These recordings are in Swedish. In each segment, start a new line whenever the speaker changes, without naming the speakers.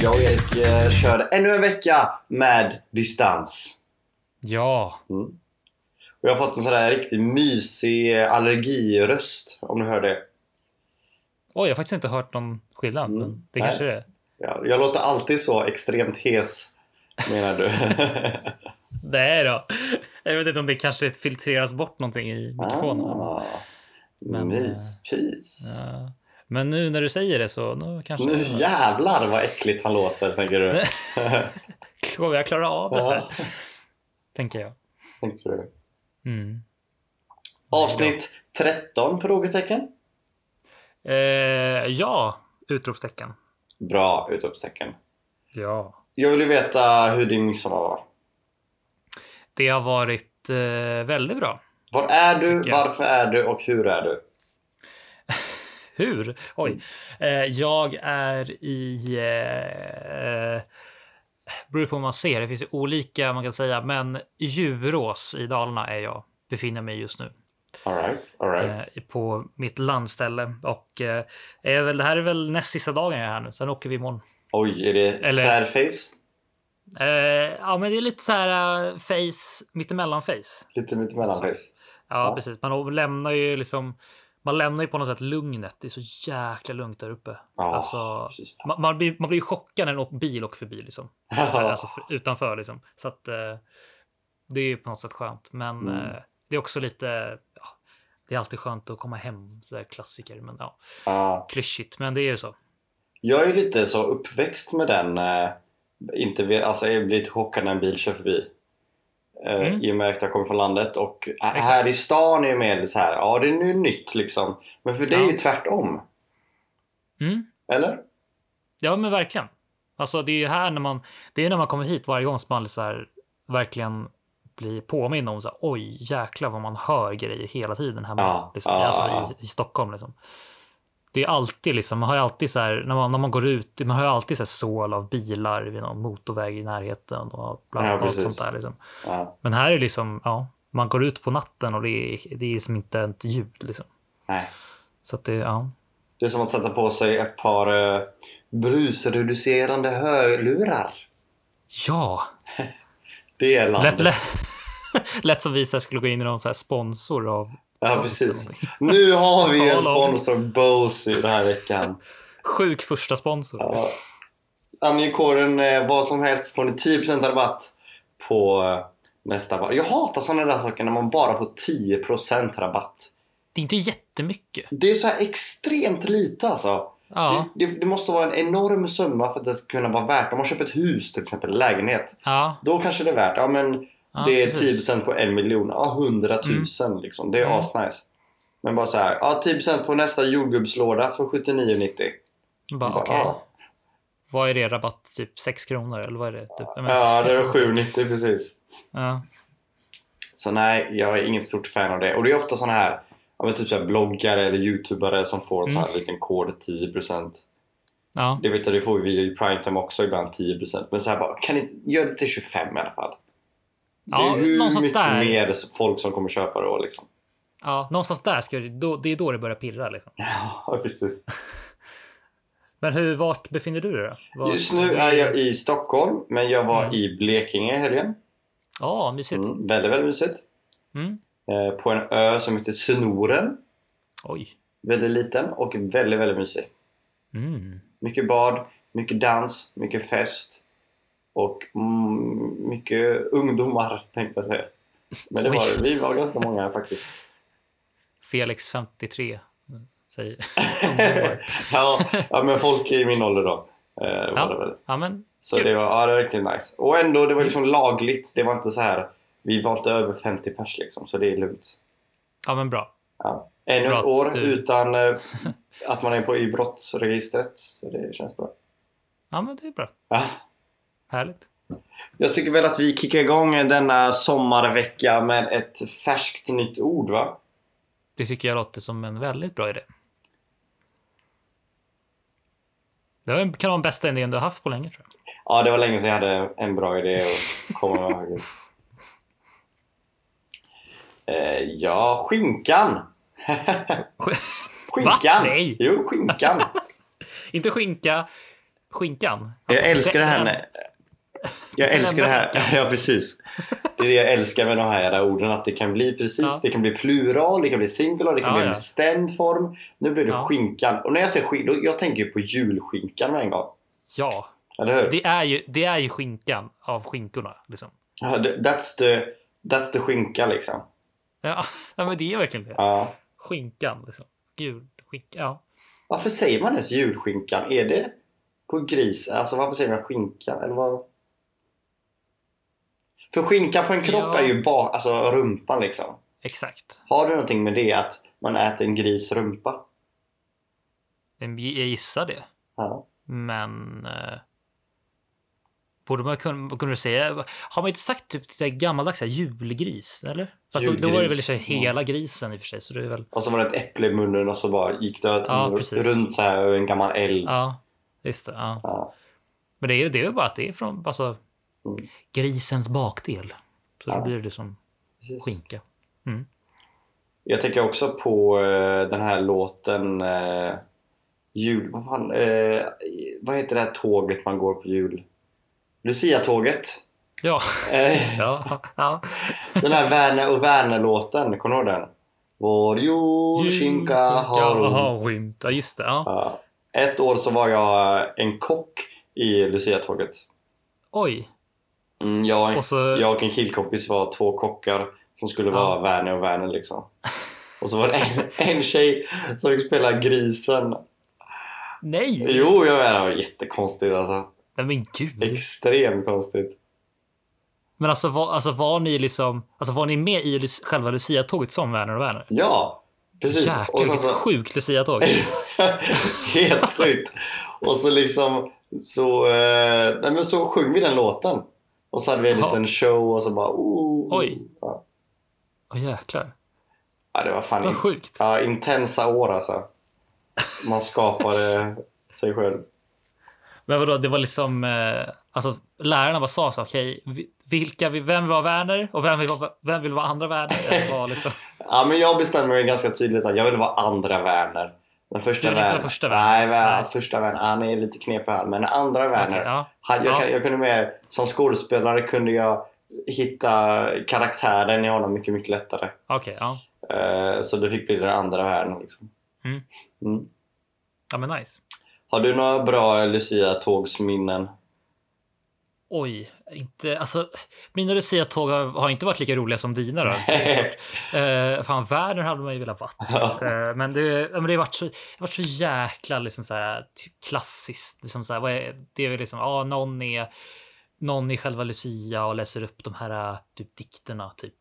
Jag och Erik eh, kör ännu en vecka med distans.
Ja,
Och jag har fått en sån där riktigt mysig allergiröst, om du hör det.
oj jag har faktiskt inte hört någon skillnad.
Mm.
Men det
Nej.
kanske det är.
Jag, jag låter alltid så extremt hes, menar du?
Nej då. Jag vet inte om det kanske filtreras bort någonting i mikrofonen.
Ah,
Men, eh,
Myspys.
Ja. Eh, Men nu när du säger det så nu kanske
Nu jävlar vad äckligt han låter, tänker du.
kommer jag klara av det här.
Ja,
Tänker jag.
tänker du.
Mm.
Avsnitt 13? Frågetecken.
Eh, ja, utropstecken.
Bra! Utropstecken.
Ja.
Jag vill ju veta hur din midsommar var.
Det har varit eh, väldigt bra.
Var är du,
Tycker jag.
varför är du och hur är du?
Hur? Oj. Eh,
Mm.
jag är i... Eh, eh, beror på hur man ser. Det finns ju olika man kan säga. Men Djurås i Dalarna är jag. Befinner mig just nu.
Alright, alright.
eh, på mitt landställe. Och eh, är väl, det här är väl näst sista dagen jag är här nu. Sen åker vi imorgon.
Oj, är det
eller-
sad face?
Eh, ja, men det är lite så här eh, face, mittemellan face.
Lite mitt emellan face.
Ja,
Ja.
precis. Man lämnar ju liksom... Man lämnar ju på något sätt lugnet. Det är så jäkla lugnt där uppe.
Ja,
Alltså,
precis.
man, man, blir, man blir ju chockad när en åk- bil åker förbi liksom. Alltså för, utanför liksom. Så att eh, det är ju på något sätt skönt. Men
Mm.
eh, det är också lite... Ja, det är alltid skönt att komma hem. Så där klassiker. Men ja,
Ja.
klyschigt. Men det är ju så.
Jag är ju lite så uppväxt med den, eh, inte, vet- alltså jag blir lite chockad när en bil kör förbi. Eh,
Mm.
I och med att jag kommer från landet och ä-
Exakt.
här i stan är ju mer så här, ja det är nu nytt liksom. Men för det är
Ja.
ju tvärtom.
Mm.
Eller?
Ja, men verkligen. Alltså, det är ju här när man, det är när man kommer hit varje gång som man så här, verkligen blir påmind om så här, oj jäklar vad man hör grejer hela tiden hemma
Ja,
liksom,
ja, ja.
alltså, i, i Stockholm. Liksom. Det är alltid liksom, man har ju alltid så här, när man, när man går ut, man har ju alltid så här sål av bilar vid någon motorväg i närheten och bland
Ja,
allt
precis.
sånt där. Liksom.
Ja.
Men här är det liksom, ja, man går ut på natten och det är, det är liksom inte ett ljud. Liksom.
Nej.
Så att det, ja.
Det är som att sätta på sig ett par eh, brusreducerande hörlurar.
Ja,
Det är landet.
Lätt, lätt, lätt som vi så här skulle gå in i någon så här sponsor av...
Ja,
av
precis.
någonting.
Nu har vi ju en
Tala om-
sponsor, Bose, den här veckan.
Sjuk första sponsor.
Ja. Ange koden eh, vad som helst får ni 10% rabatt på eh, nästa vara. Jag hatar sådana där saker när man bara får 10% rabatt.
Det är inte jättemycket.
Det är så här extremt lite alltså.
Ja,
Det, det, det måste vara en enorm summa för att det ska kunna vara värt. Om man köper ett hus till exempel, en lägenhet.
ja,
Då kanske det är värt. Ja men
ja.
det är
precis.
10% på en miljon. Ja 100 000 liksom. Det är
Mm.
asnice. Men bara så här, ja 10% på nästa jordgubbslåda för 79,90. Bara,
Bara, okej.
typ- ja.
Vad är det? Rabatt? Typ 6 kronor? Eller vad är det? Typ, jag menar-
Ja, det var 7,90 precis.
Ja.
Så nej, jag är inget stort fan av det. Och det är ofta såna här, ja, men typ så här bloggare eller youtubare som får en
Mm.
sån här liten kod 10%.
ja,
Det vet jag, det får vi i primetime också ibland 10%. Men så här bara, kan ni inte göra det till 25 i alla fall?
Ja,
det är hur
någonstans
mycket
där.
mer folk som kommer köpa då liksom.
ja. Någonstans där ska det, då, det är då det börjar pirra. Liksom.
Ja, precis.
Men hur, vart befinner du dig då? Var-
Just nu är jag i Stockholm, men jag var
Mm.
i Blekinge i helgen.
Ja, mysigt.
Mm, väldigt, väldigt mysigt.
Mm.
Eh, på en ö som heter Snoren.
Oj.
Väldigt liten och väldigt, väldigt mysig.
Mm.
Mycket bad, mycket dans, mycket fest och mm, mycket ungdomar tänkte jag säga. Men det
Oj.
var, vi var ganska många faktiskt.
Felix 53 säger ungdomar.
ja, ja, men folk i min ålder då. Eh, var
Ja.
det väl.
Ja, men
Så
Kul. Mm.
det var, ja, det var verkligen nice. Och ändå, det var liksom lagligt. Det var inte så här, vi var inte över 50 pers liksom, så det är lugnt.
Ja, men bra.
Ja. Ännu ett
Brotts,
år
du.
utan eh, att man är på i brottsregistret. Så det känns bra.
Ja, men det är bra.
Ja.
Härligt.
Jag tycker väl att vi kickar igång denna sommarvecka med ett färskt nytt ord va?
Det tycker jag låter som en väldigt bra idé. Det var en- kan vara den bästa idén du har haft på länge tror jag.
Ja, det var länge sedan jag hade en bra idé att komma ihåg. Eh, ja, skinkan.
Va?
skinkan.
Nej.
Jo, skinkan.
Inte skinka, skinkan.
Jag
Alltså,
älskar det här.
den-
när- Jag älskar det här. Ja, precis. Det är det jag älskar med de här jävla orden. Att det kan bli precis.
Ja.
Det kan bli plural, det kan bli singular, det kan
Ja,
bli en
ja.
bestämd form. Nu blir det
Ja.
skinkan. Och när jag säger skinkan, jag tänker ju på julskinkan med en gång.
Ja,
Eller hur?
det är ju, det är ju skinkan av skinkorna. Liksom.
Ja, det- That's the, that's the skinka liksom.
Ja, ja, men det är verkligen det.
Ja.
Skinkan, liksom. Gud, skinka. Ja.
Varför säger man ens julskinkan? Är det på gris? Alltså varför säger man skinkan? Eller vad? För skinkan på en kropp
Ja.
är ju ba, alltså rumpan liksom.
Exakt.
Har du någonting med det att man äter en gris rumpa?
Jag gissar det.
Ja.
Men... Eh, borde man kunna, kunna säga... Har man inte sagt typ det där gammaldags så här, julgris? Eller? Fast Då, då var det väl
Julgris,
så här,
ja.
hela grisen i och för sig. Så det är väl...
Och så var det ett äpple i munnen och så bara gick det
Ja,
r-
precis.
runt så här över en gammal eld.
Ja, just det. Ja.
Ja.
Men det är ju det är väl bara att det är från alltså,
Mm.
grisens bakdel. Så
Ja.
då blir det som
Precis.
skinka.
Jag tänker också på eh, den här låten eh, Jul... Vad fan? eh, vad heter det här tåget man går på jul? Lucia-tåget.
Ja,
Eh,
ja, ja.
den här Werner och Werner-låten. Kommer du ihåg den? Vår julskinka har
Ja,
hon.
har rymt. Ja, just det. Ja.
Ja. Ett år så var jag en kock i Lucia-tåget.
Oj.
Mm, jag,
Och så...
jag och en killkompis var två kockar som skulle
Ja.
vara Werner och Werner liksom. Och så var det en, en tjej som fick spela grisen.
Nej!
Jo, jag menar, det var jättekonstigt alltså.
Nej men gud.
Extremt konstigt.
Men alltså var, alltså var ni liksom... Alltså var ni med i Lu- själva Lucia-tåget som Werner och Werner?
Ja, precis.
Jäklar
och sen
vilket
så,
sjukt Lucia-tåg.
helt sjukt. Och så liksom så, eh, nej, men så sjöng vi den låten. Och så hade vi en
Jaha.
liten show och så bara... Oh,
Oj.
Ja.
Åh jäklar.
ja, det var fan
Vad sjukt.
Ja, intensa år alltså. Man skapade sig själv.
Men vadå, det var liksom... eh, Alltså lärarna bara sa så okej, vi- vilka, vi- vem var Werner och vem vill vara, vem vill vara andra Werner? Eller var liksom,
Ja, men jag bestämde mig ganska tydligt att jag vill vara andra Werner. Den första
Du vill inte
Werner.
vara första Werner?
Nej, Werner.
Nej.
första Werner. Han är lite knepig han. Men andra Werner.
Okej, ja.
han, jag,
Ja.
kan- jag kunde med, som skådespelare kunde jag hitta karaktären i honom mycket, mycket lättare.
Okej, ja.
Eh, så det fick bli den andra Werner. Liksom.
Mm.
Mm.
ja. men nice.
Har du några bra Lucia-tågsminnen?
Oj, inte, alltså, mina Lucia-tåg har, har inte varit lika roliga som dina. Då. Eh, fan, Werner hade man ju velat vara. Eh, men det, ja, men det har varit så, det har varit så jäkla liksom så här, ty- klassiskt. Liksom så här, vad är, det är väl liksom, ja, någon är någon är själva Lucia och läser upp de här eh, typ, dikterna typ.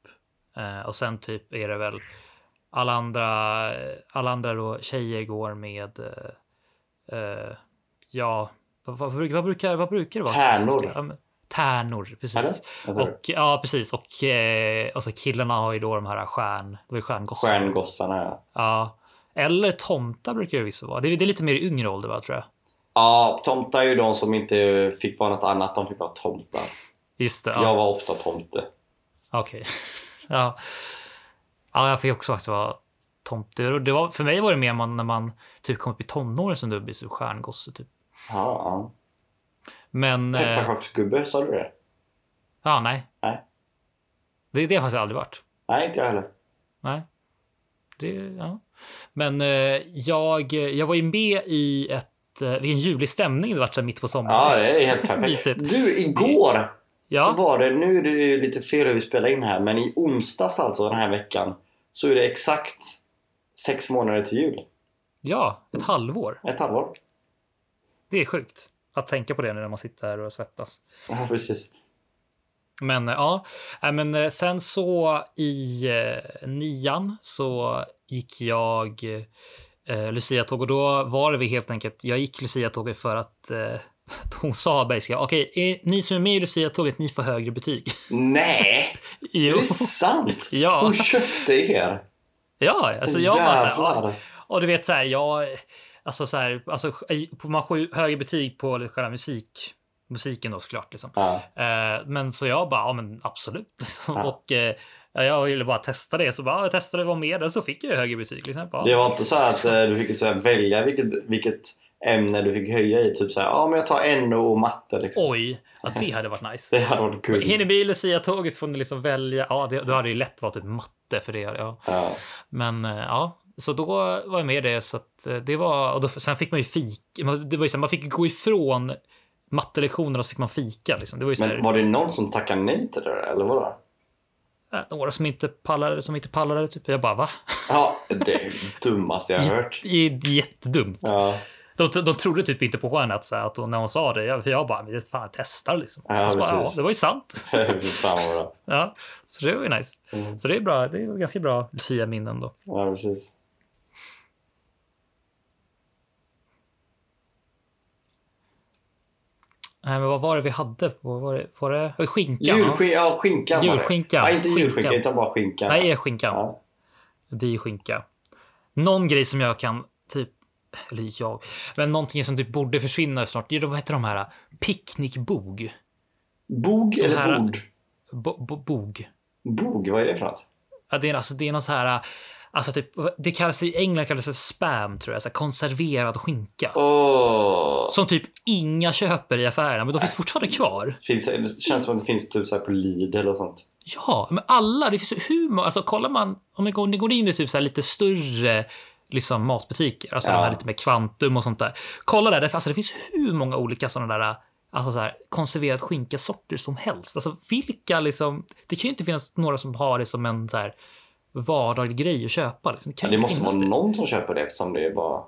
Eh, och sen typ är det väl alla andra, alla andra då, tjejer går med, eh, eh, ja, vad, vad, bruk- vad, brukar, vad brukar det vara?
Tärnor.
klassiska? Ja, men- Tärnor, precis.
och,
Och, ja, precis. Och, eh, och så killarna har ju då de här stjärn, det var ju stjärngossar.
Stjärngossarna, ja.
Ja. Eller tomtar brukar det visst vara. Det är, det är lite mer i yngre ålder, va, tror jag.
Ja, tomtar är ju de som inte fick vara något annat. De fick vara tomtar.
Just det.
Jag
Ja.
var ofta tomte.
Okej. ja. ja, jag fick också faktiskt vara tomte. Och Det var, för mig var det mer man, när man typ kom upp i tonåren som du blev så stjärngosse. Typ.
Ja, ja.
Men... Eh,
Pepparkaksgubbe, sa du det?
ja, nej.
Typ Nej.
Det, det har jag faktiskt aldrig varit.
Nej, inte jag heller.
Nej. Det, ja. Men eh, jag, jag var ju med i ett... eh, Vilken ljuvlig stämning det vart så här mitt på sommaren.
Ja, det är helt
Mysigt.
perfekt. Du, igår
Ja.
så var det... Nu är det ju lite fel hur vi spelar in här, men i onsdags alltså den här veckan så är det exakt sex månader till jul.
ja, ett halvår.
Ett halvår.
Det är sjukt att tänka på det nu när man sitter här och svettas.
Ja, precis.
Äh, Men eh, ja, Nej, men eh, sen så i eh, nian så gick jag eh, Lucia-tåg och då var det väl helt enkelt, jag gick Lucia-tåget för att eh, hon sa basically, okej, eh, ni som är med i Lucia-tåget, ni får högre betyg.
Nej! Är
Jo.
det sant?
Ja.
Hon köpte er!
Ja, alltså jag bara så här,
Jävlar.
ja. Och du vet så här, jag, alltså så här, alltså, på- man får ju högre betyg på själva musik, musiken då såklart. Liksom.
Ja.
Eh, men så jag bara, ja men absolut.
Ja.
och eh, jag ville bara testa det, så bara, ja, jag testade att vara med och så fick jag ju högre betyg. Liksom. Ja.
Det var inte så här att eh, du fick så här välja vilket, vilket ämne du fick höja i. Typ så här, ja ah, men jag tar NO och matte liksom.
Oj, ja, det hade varit nice.
Det hade varit kul.
Hinner bli Lucia-tåget får ni liksom välja. Ja, det, då hade det ju lätt varit typ matte för det. Ja.
Ja.
Men eh, ja, så då var jag med i det. Så att eh, det var, och då, sen fick man ju fika. Man, det var ju så här, man fick gå ifrån mattelektionerna så fick man fika. Liksom. Det var ju så här,
Men var det någon som tackade nej till det där, eller vadå?
eh, några som inte pallade, som inte pallade. Typ. Jag bara, va?
Ja, det är det dummaste jag har hört.
Det är jättedumt.
Ja,
De, de trodde typ inte på stjärnan att, så här, att hon, när hon sa det. Jag, för jag bara, vi fan testar liksom.
Ja,
Och så bara, ja,
precis.
det var ju sant.
Fy fan vad bra.
Ja, så det var ju nice.
Mm.
Så det är bra. Det är ganska bra Lucia-minnen då.
Ja, precis.
Nej, men vad var det vi hade? på- Vad var det? Var det skinkan? va?
Julskin, ja, skinkan var det.
Julskinkan.
Ja, inte julskinka,
Skinkan.
utan bara skinkan.
Nej, är skinkan.
Ja.
Det är skinka. Någon grej som jag kan typ eller jag, men någonting som typ borde försvinna snart. Det är de, vad heter de här? Picknickbog.
Bog
De
eller
här-
bord?
Bo, bo, bog.
Bog, vad är det för något?
Ja, det är alltså, det är någon så här. Alltså typ, det kallas i England kallas det för spam tror jag. Så här, konserverad skinka.
Åh!
Som typ inga köper i affärerna, men de finns fortfarande kvar.
Finns, det känns som att det finns typ så här på Lidl och sånt.
Ja, men alla. Det finns ju hur många. Alltså kollar man, om man går, ni går in i typ så här lite större liksom matbutiker, alltså
Ja.
de här lite med kvantum och sånt där. Kolla där, det, alltså, det finns hur många olika sådana där alltså så här, konserverad skinkasorter som helst. Alltså vilka liksom, det kan ju inte finnas några som har det som en så här vardaglig grej att köpa. Liksom. Det, kan ju
Det
inte
måste
finnas
vara
det.
någon som köper det eftersom det är bara...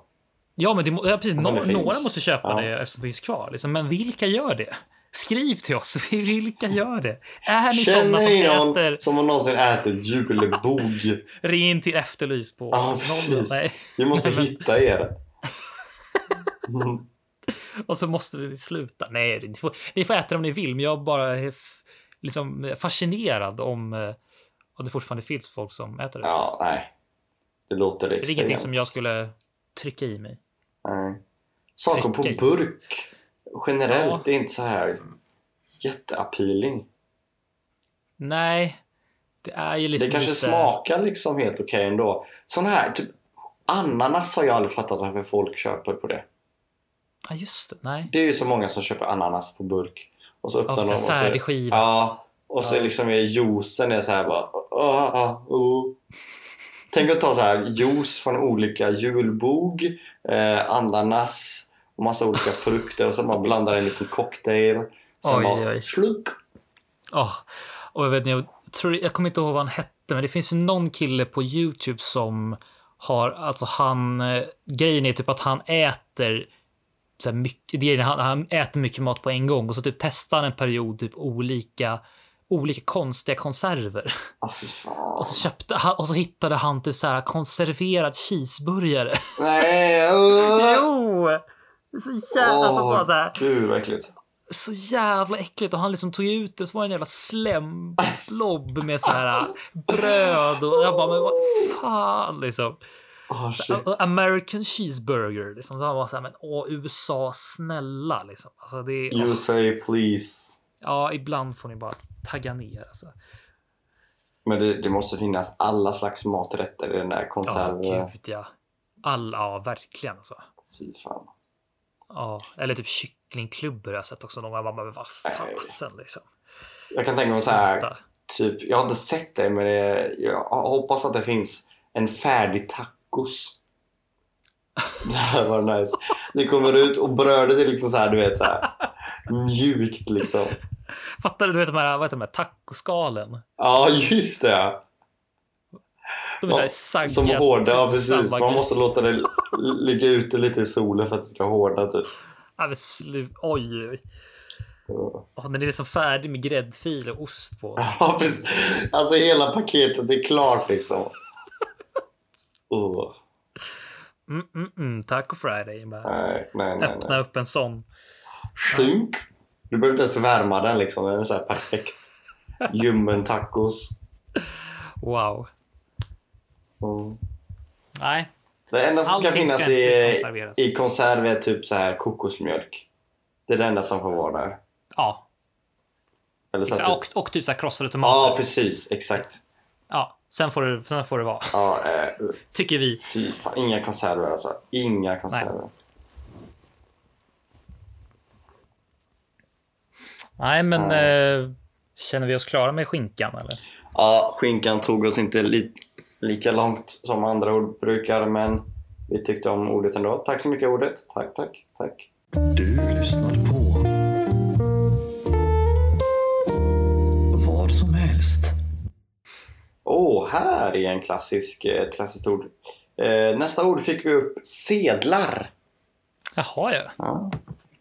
Ja, men det, må- ja, precis,
Som
nå-
Alltså, det finns.
några måste köpa
Ja.
det eftersom det finns kvar. Liksom. Men vilka gör det? Skriv till oss, vilka gör det? Är ni sådana
Känner
som
ni någon
äter
som har någonsin ätit julbog?
Ring till Efterlys på
Ja,
nollan.
precis.
Nej.
Vi måste hitta er. Mm.
Och så måste vi sluta. Nej, ni får, ni får äta det om ni vill, men jag bara är f- liksom fascinerad om eh, att det fortfarande finns folk som äter det.
Ja, nej. Det låter
det
extremt.
är ingenting som jag skulle trycka i mig.
Nej. Saker på
Trycka i.
burk generellt är inte så här jätteappealing.
Nej, det är ju liksom
Det kanske
lite...
smakar liksom helt okej ändå. Sån här, typ ananas har jag aldrig fattat varför folk köper på det.
Ja, just det. Nej.
Det är ju så många som köper ananas på burk. Och så öppnar
Ja,
de
så
och
här
så...
färdigskivat.
Ja, och så
Ja.
liksom är juicen är så här bara... ah, ah, oh. Tänk att ta så här juice från olika julbog, eh, ananas och massa olika frukter och så man blandar en liten cocktail. Sen
Oj,
bara
oj.
sluk.
Ja, och jag vet inte, jag, tror, jag kommer inte ihåg vad han hette, men det finns ju någon kille på Youtube som har, alltså han, eh, grejen är typ att han äter så här mycket, det är, han, han äter mycket mat på en gång och så typ testar han en period typ olika olika konstiga konserver.
Ah, fy fan.
Och så, köpte han, och så hittade han typ så här konserverad cheeseburgare.
Nej! Uh.
Jo! Det är så jävla, alltså bara så här.
Gud vad äckligt.
så jävla äckligt och han liksom tog ut det och så var det en jävla slemblob med så här äh, bröd och jag bara men vad fan liksom.
Ah,
Så,
shit.
a- a- American cheeseburger liksom. Så han var så här men åh USA snälla liksom. Alltså det är,
You say please.
ja ibland får ni bara tagga ner alltså.
Men det, det måste finnas alla slags maträtter i den där
Ja
konserven.
gud ja. All, ja verkligen alltså.
Fy fan.
Ja, eller typ kycklingklubbor har jag sett också. De bara, men vad fasen liksom.
Jag kan tänka mig så här.
Sluta.
Typ, jag har inte sett det, men det, jag hoppas att det finns en färdig tacos. Det här var nice. Det kommer ut och brödet är liksom så här, du vet, så här, mjukt liksom.
Fattar du? Du vet de här, vad heter de här tacoskalen?
Ja, just det.
De är så här
Ja,
saggiga. typ
Som hårda, ja precis.
samma
Man
grej.
måste låta det ligga ute lite i solen för att det ska hårdna typ.
Ja, men slut. Oj, oj, oj.
Ja.
Åh, Den är liksom färdig med gräddfil och
Ah.
ost på.
Ja, precis. Alltså hela paketet är klart liksom. Åh,
Mm, mm, mm, taco Friday. Bara
nej, nej, nej. nej.
öppna upp en sån.
Skink. Du behöver inte ens värma den liksom. Den är så här perfekt. Ljummen tacos.
Wow.
Mm.
Nej,
Det enda som ska
Allting
finnas
ska inte
i,
konserveras.
i konserv är typ så här kokosmjölk. Det är det enda som får vara där.
ja.
Eller så här,
Exakt.
typ.
Och, och typ så här krossade
Ja,
tomater.
precis. Exakt.
Ja, sen får det, sen får det vara.
Ja, eh,
Tycker vi.
fy fan. Inga konserver alltså. Inga konserver.
Nej, men
Nej.
eh, känner vi oss klara med skinkan eller?
Ja, skinkan tog oss inte li- lika långt som andra ord brukar, men vi tyckte om ordet ändå. Tack så mycket ordet. Tack, tack, tack.
Du lyssnar på vad som helst.
Åh, här är en klassisk, ett klassiskt ord. Eh, nästa ord fick vi upp sedlar.
Jaha, ja.
Ja.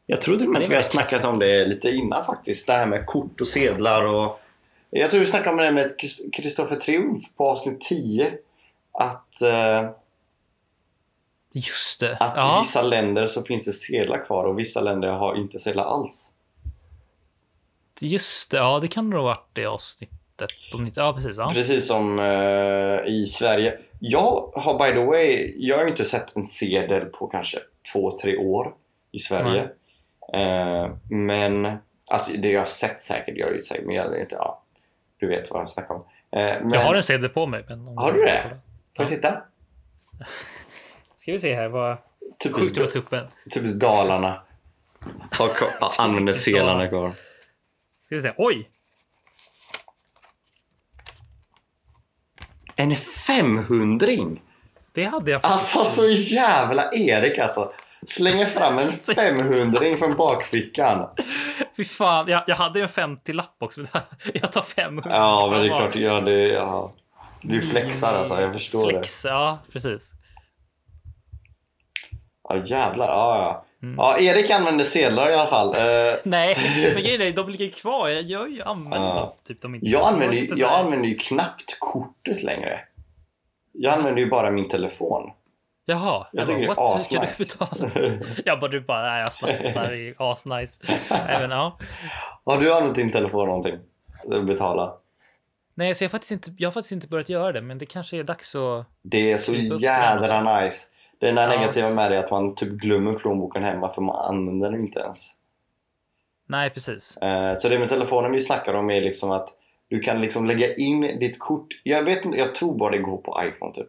Jag tror till och med
Det
att
är
vi har
väldigt
snackat
klassiskt.
om det lite innan faktiskt. Det här med kort och sedlar och... Jag tror vi snackade om det med Krist- Kristoffer Triumf på avsnitt 10. Att, eh,
Just det.
att i
Ja.
vissa länder så finns det sedlar kvar och vissa länder har inte sedlar alls.
Just det, ja det kan det nog ha varit det avsnittet. på nytt. Ja, precis. Ja.
Precis som eh, i Sverige. Jag har by the way, jag har ju inte sett en sedel på kanske två, tre år i Sverige. Eh, men, alltså det jag har sett säkert, jag har ju sett, men jag vet inte, ja. Du vet vad jag snackar om. Eh, men,
Jag har en sedel på mig. Men om
Har du det? Får jag titta?
Ska vi se här vad sjukt
Typiskt,
det var tuppen.
typiskt Dalarna. Har, har, använder sedlarna kvar.
Ska vi se. Oj!
En 500-ring!
Det hade jag
Alltså så jävla Erik alltså. Slänger fram en 500-ring från bakfickan.
Fy fan, jag, jag hade ju en 50-lapp också. men Jag tar 500.
Ja, men det är klart du gör det. Ja. Du flexar alltså, jag förstår det.
Mm. Flex, ja precis.
Ja, jävlar. Ja, ja.
Mm.
ja, Erik använder sedlar i alla fall. Eh,
Nej, men grejen är de ligger kvar. Jag, jag, jag använder
Ja.
dem. Typ, de inte.
jag, använder ju,
inte så
jag
här-
använder ju knappt kortet längre. Jag använder ju bara min telefon.
Jaha.
Jag tycker det är
what? Hur ska du
asnice.
betala? Jag bara, du bara, nej jag slappnar. Det är asnice. Nej, men, ja.
Har du använt din telefon någonting? Betala.
Nej, så jag, har faktiskt inte, jag har faktiskt inte börjat göra det, men det kanske är dags att...
Det är så
Krypa upp
jädra nice. Det enda
Ja.
negativa med det är att man typ glömmer plånboken hemma för man använder den inte ens.
Nej, precis.
Eh, Så det med telefonen vi snackar om är liksom att du kan liksom lägga in ditt kort. Jag vet inte, jag tror bara det går på iPhone typ.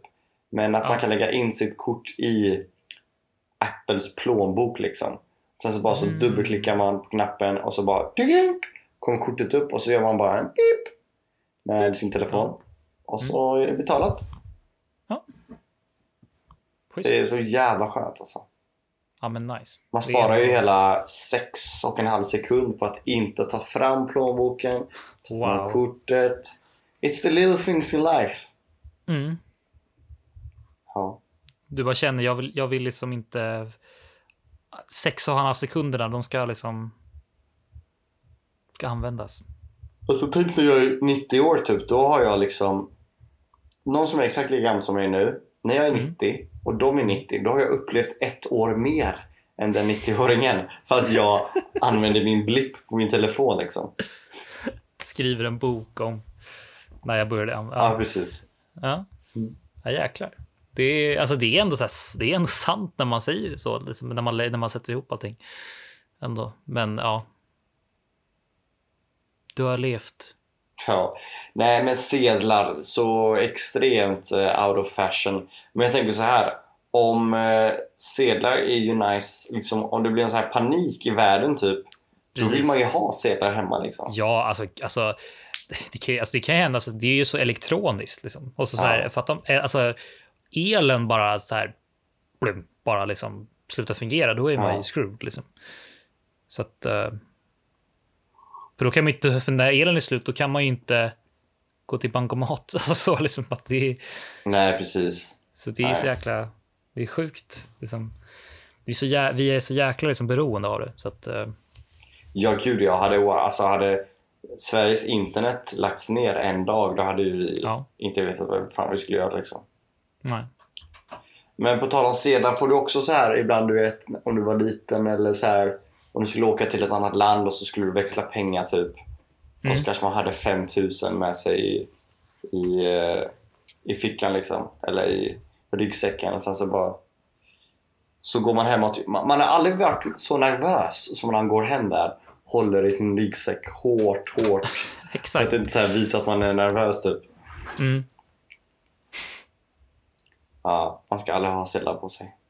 Men att
Ja.
man kan lägga in sitt kort i Apples plånbok liksom. Sen så bara så
Mm.
dubbelklickar man på knappen och så bara tink, kommer kortet upp och så gör man bara en pip med sin telefon. Och så
Mm.
är det betalat.
Schysst.
Det är så jävla skönt alltså.
Ja, men nice.
Man
Det är-
sparar ju hela sex och en halv sekund på att inte ta fram plånboken, ta fram
Wow.
kortet. It's the little things in life.
Mm.
Ja.
Du bara känner, jag vill, jag vill liksom inte... Sex och en halv sekunderna, de ska liksom... Ska användas.
Alltså tänk när jag är 90 år typ, då har jag liksom någon som är exakt lika gammal som jag är nu, när jag är 90 och de är 90, då har jag upplevt ett år mer än den 90-åringen för att jag använder min blipp på min telefon liksom.
Skriver en bok om när jag började använda...
Ja, precis.
Ja. ja, jäklar. Det är, alltså det, är ändå så här, det är ändå sant när man säger så, liksom, när, man, när man sätter ihop allting. Ändå. Men ja. Du har levt.
Ja. Nej, men sedlar, så extremt eh, out of fashion. Men jag tänker så här, om eh, sedlar är ju nice, liksom, om det blir en sån här panik i världen typ, då vill
Precis.
man ju ha sedlar hemma liksom.
Ja, alltså, alltså, det, kan, alltså det kan ju hända. Alltså, det är ju så elektroniskt. Liksom. Och så, så här,
Ja.
fatta, om- alltså, elen bara så här, blum, bara liksom slutar fungera, då är man
Ja.
ju screwed. Liksom. Så att, eh, för då kan man ju inte, för när elen är slut, då kan man ju inte gå till bankomat. Alltså, så, liksom, att det, är-
Nej, precis.
så det är så
Nej.
jäkla, det är sjukt. Liksom. Vi, är så jä, vi är så jäkla liksom, beroende av det. Så att, eh,
Ja, gud jag hade, alltså, hade Sveriges internet lagts ner en dag, då hade ju vi
ja,
inte vetat vad fan vi skulle göra liksom.
nej.
Men på tal om sedan får du också så här ibland du vet om du var liten eller så här om du skulle åka till ett annat land och så skulle du växla pengar typ. Och så
Mm.
kanske man hade 5000 med sig i, i, eh, i fickan liksom. Eller i ryggsäcken. Och sen så bara... Så går man hem och... Man, man har aldrig varit så nervös som när man går hem där. Håller i sin ryggsäck hårt, hårt. För
Exakt.
att inte så här visa att man är nervös typ.
Mm.
Ja, man ska aldrig ha sedlar på sig.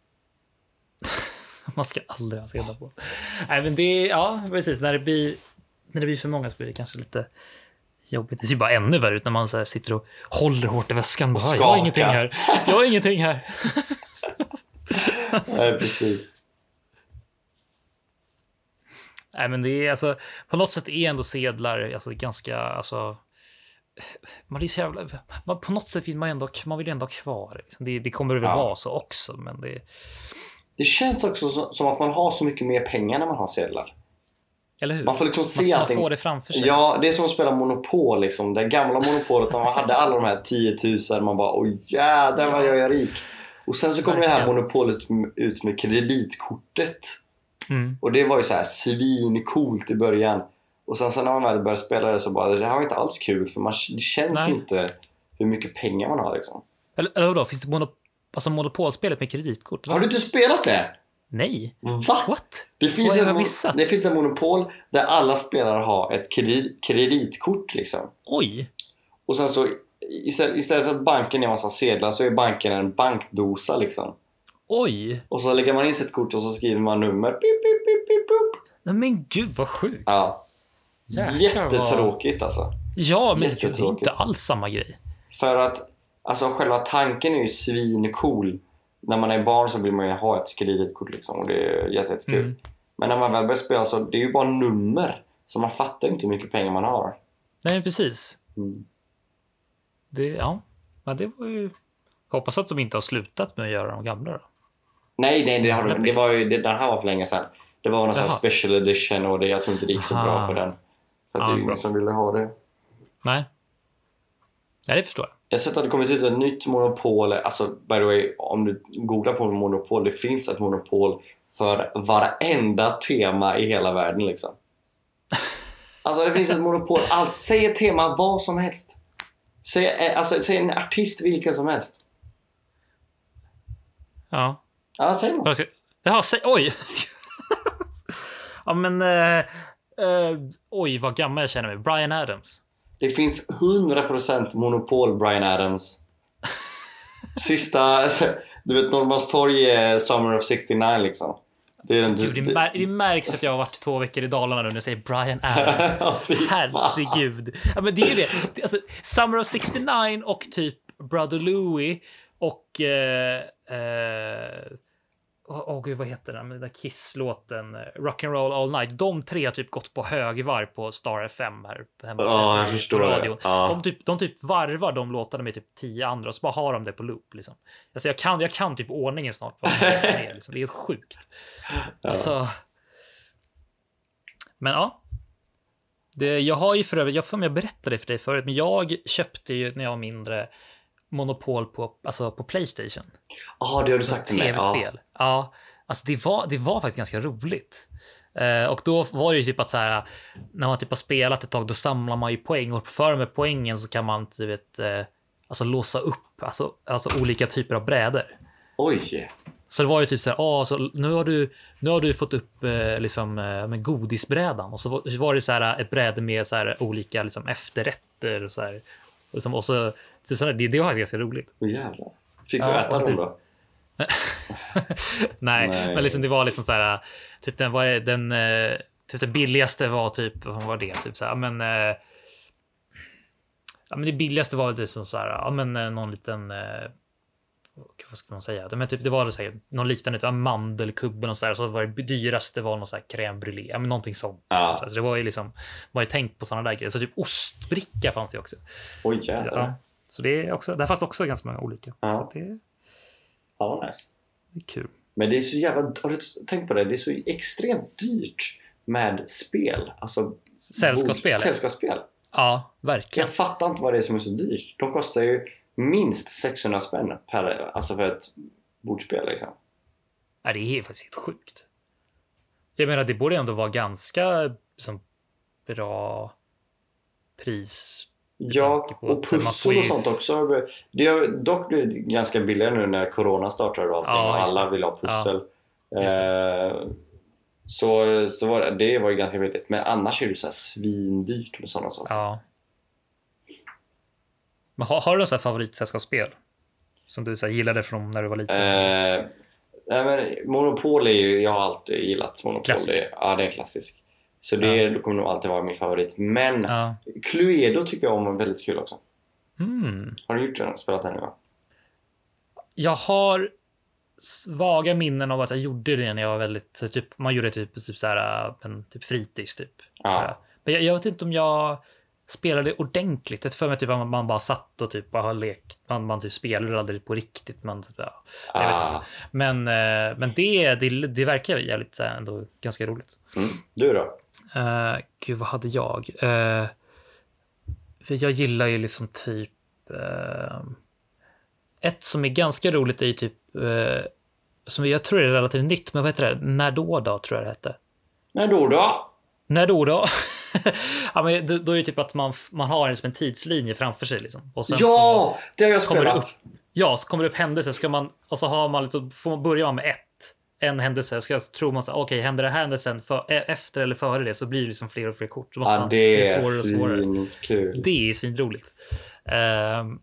Man ska aldrig ha sedlar på. Nej, men det är, ja, precis. När det, blir, när det blir för många så blir det kanske lite jobbigt. Det ser ju bara ännu värre ut när man så här sitter och håller hårt i väskan. Bara, jag har
skakar."
ingenting här. Jag har ingenting här.
Nej, precis.
Nej, men det är alltså på något sätt är ändå sedlar alltså ganska alltså. Man är så jävla, man, på något sätt vill man ändå man vill ändå ha kvar. Liksom. Det, det kommer det väl
Ja.
vara så också, men det
Det känns också så- som att man har så mycket mer pengar när man har sedlar.
eller hur?
Man får liksom se
man
allting.
får det framför sig.
Ja, det är som att spela Monopol liksom. Det gamla Monopolet när man hade alla de här 10 000. Man bara åh jädrar vad jag är rik. Och sen så kom det här
Verkligen.
Monopolet ut med kreditkortet.
Mm.
Och det var ju så här svincoolt i början. Och sen, sen när man väl började spela det så bara det här var inte alls kul för man, det känns
Nej.
inte hur mycket pengar man har liksom.
Eller, eller vadå? Finns det monop alltså monopolspelet med kreditkort? Va?
Har du inte spelat det?
Nej.
Va?
What?
Det finns,
Vad har
ett,
jag
mon-
missat?
det finns ett monopol där alla spelare har ett kredi- kreditkort liksom.
Oj.
Och sen så istället, istället för att banken är en massa sedlar så är banken en bankdosa liksom.
Oj.
Och så lägger man in sitt kort och så skriver man nummer. Pip, pip, pip, pip, pip.
Nej, Men gud vad sjukt.
Ja.
Jäklar vad-
Jättetråkigt alltså.
Ja, men det är
Jättetråkigt.
inte alls samma grej.
För att alltså själva tanken är ju svincool. När man är barn så vill man ju ha ett kreditkort liksom och det är jätte- jättekul.
Mm.
Men när man väl börjar spela så det är ju bara nummer. Så man fattar ju inte hur mycket pengar man har.
Nej, men precis.
Mm.
Det, ja. Men det var ju... Jag hoppas att de inte har slutat med att göra de gamla. Då.
Nej, nej, det, har, det var ju, det, den här var för länge sedan. Det var någon sån här
Jaha.
special edition och det, jag tror inte det gick så bra
Aha.
för den. För att det
Ja,
är ju
bra.
ingen som ville ha det.
Nej. Nej, det förstår jag.
Jag har sett att det kommit ut ett nytt monopol. Alltså, by the way, om du googlar på monopol, det finns ett monopol för varenda tema i hela världen liksom. Alltså det finns ett monopol. Allt, säg ett tema, vad som helst. Säg, eh, alltså, säg en artist, vilken som helst.
Ja.
Ja, säg något.
Vad ska- Jaha, säg... Oj! ja, men... Eh, eh, oj, vad gammal jag känner mig. Brian Adams.
Det finns 100% monopol Brian Adams. Sista, du vet Norrmalmstorg är Summer of 69 liksom. Det är den
Gud, det, mär, det märks att jag har varit två veckor i Dalarna nu när jag säger Brian Adams.
Ja, fy fan.
Herregud. Ja, men det är ju det. Det- Alltså, Summer of 69 och typ Brother Louie och... eh, eh, Åh åh, gud, vad heter den? Den där Kiss-låten. eh, Rock'n'roll all night. De tre har typ gått på högvarv på Star FM här hemma
Ja, jag
på
förstår
radio.
det. Ja.
De, typ, de typ varvar de låtarna med typ tio andra och så bara har de det på loop. Liksom. Alltså, jag, kan, jag kan typ ordningen snart. på vad de är, liksom. Det är helt sjukt. Alltså. Men ja. Det, jag har ju för övrigt, jag får jag berättade för dig förut, men jag köpte ju när jag var mindre monopol på, alltså på Playstation.
Ja, Ah, det har du sagt till mig. Ja.
Tv-spel. Ja. Alltså det var, det var faktiskt ganska roligt. Eh, och då var det ju typ att så här, när man typ har spelat ett tag, då samlar man ju poäng och för med poängen så kan man du vet, eh, alltså låsa upp alltså, alltså olika typer av brädor.
Oj.
Så det var ju typ så här, ah, så nu, har du, nu har du fått upp eh, liksom, eh, med godisbrädan och så var, så var det så här, eh, ett bräde med så här, olika liksom, efterrätter och så här. Och, som, och så, så, så här, det, det var faktiskt ganska roligt.
Åh, jävlar. Fick du
Ja,
äta
och
dem
typ-
då?
Nej,
Nej.
men liksom det var liksom så här. Typ den var den. eh, Typ den billigaste var typ vad var det typ så här, men. eh, Ja, men det billigaste var typ som så här. Ja, men eh, någon liten. eh, Vad ska man säga? Men typ, det var så här, någon liten typ, mandelkubbe och så där. Så var det dyraste var någon så här crème brûlée. Ja, men någonting sånt.
Ja.
Så, det var ju liksom. Var ju tänkt på sådana där grejer. Så typ ostbricka fanns det också.
Oj,
Ja.
jävlar.
Så det är också. Där fanns det också ganska många olika.
Ja.
Så att det, är-
Ja, vad nice.
det är kul.
Men det är så jävla... Har du tänkt på det? Det är så extremt dyrt med spel. Alltså,
Sällskapsspel.
bord- Sällskapsspel.
Ja, verkligen.
Jag fattar inte vad det är som är så dyrt. De kostar ju minst 600 spänn per, alltså för ett bordspel liksom.
Ja, det är faktiskt helt sjukt. Jag menar, det borde ändå vara ganska liksom, bra pris.
Ja,
tanke på
och
att man
pussel
får ju-
och sånt också. har bör- Det har dock blivit ganska billigare nu när corona startade och allting
Ja,
och
just
alla vill ha pussel.
just
Eh, så så var det, det var ju ganska billigt. Men annars är det ju så här svindyrt med sådana saker.
Ja. Men har, har du några så här favoritsällskapsspel? Som du så här, gillade från när du var liten?
Eh, nej, men Monopol är ju, jag har alltid gillat Monopol.
Klassiker.
Det, ja, det är en klassisk. Så det kommer nog alltid vara min favorit. Men
Ja.
Cluedo tycker jag om och är väldigt kul också.
Mm.
Har du gjort den? Spelat den nu?
Jag har svaga minnen av att jag gjorde det när jag var väldigt, så typ, man gjorde typ, typ så här, en typ fritids typ.
Ja.
tror jag. Men jag, jag vet inte om jag spelade ordentligt. Jag tror för mig typ att man- man bara satt och typ bara har lekt. Man, man typ spelade aldrig på riktigt. Man, typ, ja. Jag vet
Ah.
Men, eh, men det, det, det verkar jävligt så här ändå ganska roligt.
Mm. Du då?
Eh, gud, vad hade jag? Eh, för jag gillar ju liksom typ... eh, ett som är ganska roligt är ju typ... eh, som jag tror är relativt nytt, men vad heter det? När då då, tror jag det hette.
När då då?
När då då? ja, men då, då är det typ att man, f- man har en, som en tidslinje framför sig. Liksom. Och sen så,
Ja! Det har jag
kommer det
spelat.
upp, ja, så kommer det upp händelser. Ska man, och så har man lite, får man börja med ett. En händelse, så jag tror man så här, okej, händer det här händelsen för, e- efter eller före det så blir det liksom fler och fler kort. Så måste
Ja,
man,
Ah, det
det
är svinkul.
Det är svinroligt. Ehm,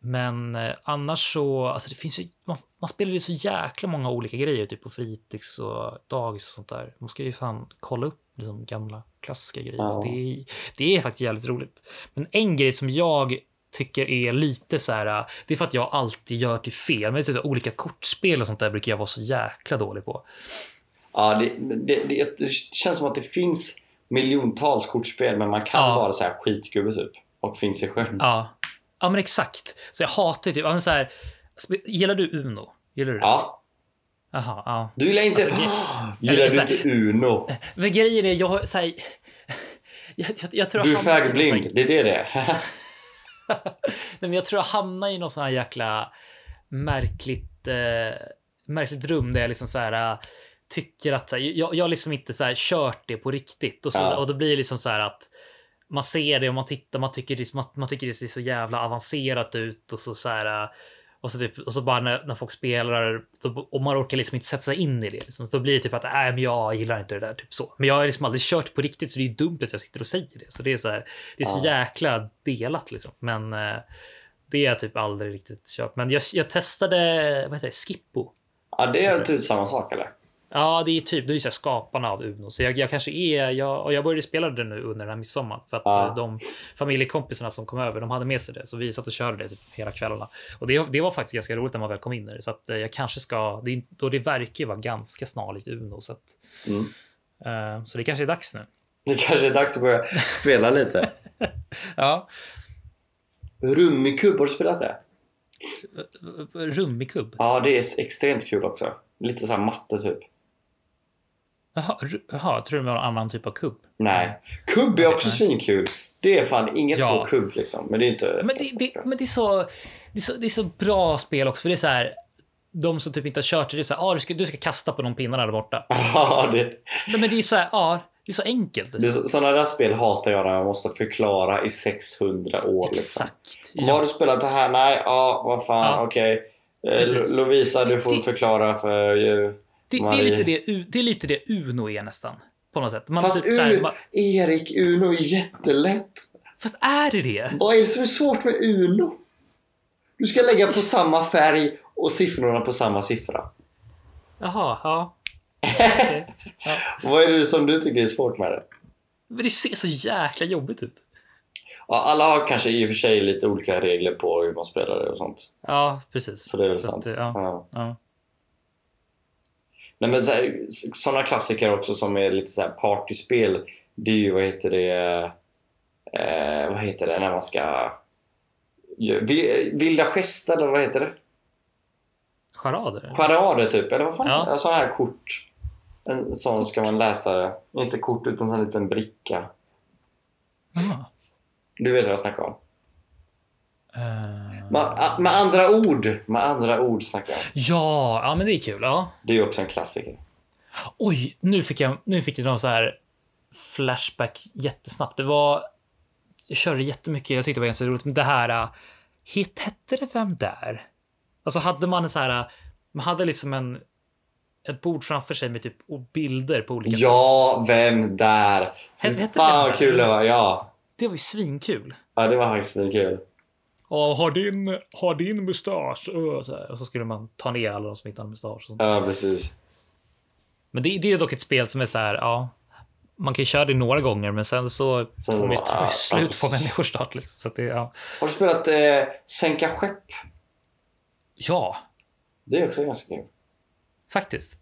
men eh, annars så, alltså det finns ju, man, man spelar ju så jäkla många olika grejer, typ på fritids och dagis och sånt där. Man ska ju fan kolla upp liksom gamla klassiska grejer.
Ja.
Det, är, det är faktiskt jävligt roligt. Men en grej som jag tycker är lite så här, eh, det är för att jag alltid gör till fel, men typ olika kortspel och sånt där brukar jag vara så jäkla dålig på.
Ja, Ah, det, det, det, det känns som att det finns miljontals kortspel men man kan
Ja.
vara så här skitgubbe typ och finns i sjön.
Ja, ja men exakt. Så jag hatar ju typ, ja, men så här, spe- gillar du Uno? Gillar du det?
Ja.
Aha, ja.
Du gillar inte...
Alltså,
gillar
Eller
du
så
inte Uno?
Men grejen är, jag har så här, jag, jag, jag tror
Du är
jag hamnar i någon
färgblind,
sån här-
det är det det är.
Nej, men jag tror jag hamnar i någon sån här jäkla märkligt, eh, märkligt rum där jag liksom så här eh, tycker att så här, jag, jag har liksom inte så här kört det på riktigt och, så,
Ja.
och då blir det liksom så här att man ser det och man tittar, man tycker det, man, man tycker det ser så jävla avancerat ut och så så här eh, och så, typ, och så bara när, när folk spelar då, och man orkar liksom inte sätta sig in i det. Liksom, så då blir det typ att nej, men jag gillar inte det där. Typ så. Men jag har liksom aldrig kört på riktigt så det är ju dumt att jag sitter och säger det. Så det är så, här, det är så jäkla delat liksom. Men eh, det har jag typ aldrig riktigt kört. Men jag, jag testade vad heter det, Skippo.
Ja, det är typ samma sak eller?
Ja, det är typ det är ju så här skaparna av Uno. Så jag, jag kanske är, jag, och jag började spela det nu under den här midsommar. För att
Ja.
eh, de familjekompisarna som kom över, de hade med sig det. Så vi satt och körde det typ hela kvällarna. Och det, det var faktiskt ganska roligt när man väl kom in i det. Så att eh, jag kanske ska, det, är- då det verkar ju vara ganska snarlikt Uno. Så, att,
Mm.
eh, så det kanske är dags nu.
Det kanske är dags att börja spela lite.
Ja.
Rummikub, har du spelat det?
Eh, Rummikubb.
Ja, det är extremt kul också. Lite så här matte typ.
Jaha, ru- jaha, jag tror du det var en annan typ av kubb?
Nej. Kubb är också svinkul. Det är fan inget
Ja.
får kubb liksom. Men det är inte...
Men det,
Alltså.
det, men det, är så, det, är så, det är så bra spel också, för det är så här. De som typ inte har kört det, det är så här, ah, du, ska, du ska kasta på de pinnarna där borta.
Ja, det...
Nej, men det är så här, ah, det är så enkelt.
Det är så- Sådana där spel hatar jag när jag måste förklara i 600 år. Liksom.
Exakt.
Har
Ja.
du spelat det här? Nej, ja, vad fan,
Ja.
okej. Eh,
Precis.
Lo- Lovisa, du får
Det-
förklara för... eh,
Det, det, är
Marie.
lite det, U- det är lite det Uno är nästan. På något sätt. Man
Fast
typ så här,
U-
man,
Erik, Uno är jättelätt.
fast är det det?
Vad är det som är svårt med Uno? Du ska lägga på samma färg och siffrorna på samma siffra.
Jaha, ja. Okej. ja.
Vad är det som du tycker är svårt med det?
Men det ser så jäkla jobbigt ut.
Ja, alla har kanske i och för sig lite olika regler på hur man spelar det och sånt.
Ja, precis.
Så det är väl
Så att
sant.
det- ja.
Ja.
Ja.
Nej, men så här, sådana klassiker också som är lite så här partyspel. Det är ju, vad heter det, eh, vad heter det när man ska... Vi- Vilda gester, eller vad heter det?
Charader?
Charader typ, eller vad fan?
Ja.
Ja. Sådana här kort. En sån ska man läsa det. Inte kort utan en liten bricka.
Jaha.
Du vet vad jag snackar om.
Eh,
Med, med andra ord, med andra ord snackar jag.
ja, ja, men det är kul. Ja.
Det är ju också en klassiker.
Oj, nu fick jag, nu fick jag någon så här flashback jättesnabbt. Det var, jag körde jättemycket, jag tyckte det var ganska roligt, men det här eh, hit hette det Vem där? Alltså hade man en så här, eh, man hade liksom en, ett bord framför sig med typ och bilder på olika.
Ja, vem där?
Hette- hette
Fan
Vem
vad
där?
kul det var. Ja,
Det var ju svinkul.
ja det var faktiskt kul.
Och har din, har din mustasch? Och så, här. och så skulle man ta ner alla de som inte hade mustasch. Och sånt.
Ja, precis.
Men det, det är ju dock ett spel som är så här, ja. Man kan ju köra det några gånger, men sen så
Sen
får man ju
bara,
ta
ah,
slut på
ja, precis.
människors start. Liksom. Så att det, ja.
Har du spelat eh, Sänka skepp?
ja,
Det är också ganska kul.
faktiskt.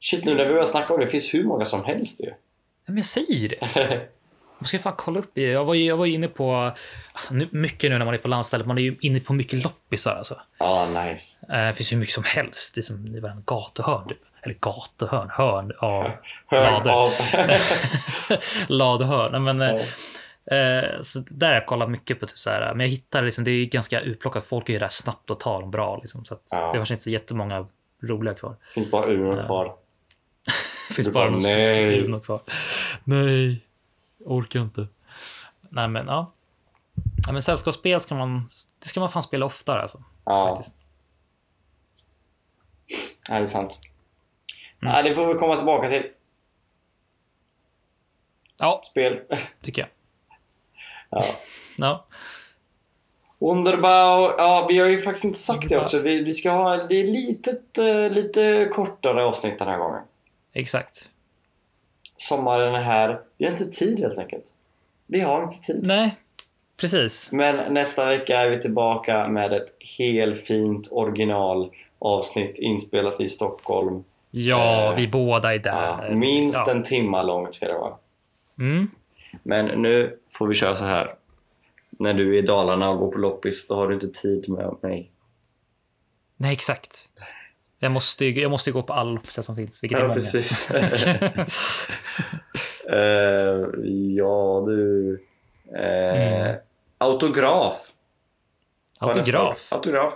Shit, nu när vi börjar snacka om det, det finns hur många som helst ju.
Men jag säger det. Man ska fan kolla upp. det. Jag var ju, jag var ju inne på, ah, nu, mycket nu när man är på landstället, man är ju inne på mycket loppisar alltså.
Ja, nice.
Eh, Det finns ju hur mycket som helst. Det är som i varenda gatuhörn. Typ. Eller gatuhörn, hörn av
Hör
lader.
av.
Ladhörn. Nej, Men, eh, eh, så där har jag kollat mycket på. Typ så här, men jag hittar liksom, det är ju ganska utplockat. Folk är ju där snabbt och tar dem bra. Liksom, så att
Ja.
Det var inte så jättemånga roliga kvar.
Det finns bara Uno kvar.
Det finns
Du
bara
bara,
någon
"Nej."
skriven kvar. Nej, orkar inte. Nej men ja. ja men sällskapsspel ska man, det ska man fan spela oftare alltså.
Ja,
Faktiskt.
ja, det är sant.
Mm.
Ja, det får vi komma tillbaka till.
Ja,
Spel.
tycker jag.
Ja.
Ja.
Underbao, ja vi har ju faktiskt inte sagt det
Underbao.
också. Vi, vi ska ha, det är litet, eh, lite kortare avsnitt den här gången.
Exakt.
Sommaren är här. Vi har inte tid helt enkelt. Vi har inte tid.
Nej, precis.
Men nästa vecka är vi tillbaka med ett helt fint original avsnitt inspelat i Stockholm.
Ja,
Eh,
vi båda är
Ja,
där.
minst
ja.
en timma långt ska det vara.
Mm.
Men nu får vi köra så här. När du är i Dalarna och går på loppis, då har du inte tid med mig.
Nej, exakt. Jag måste ju, jag måste ju gå på alla loppisar som finns, vilket är
Ja,
många.
precis. Eh, ja, du. Eh,
Mm.
Autograf. var nästa
Autograf.
ord. Autograf.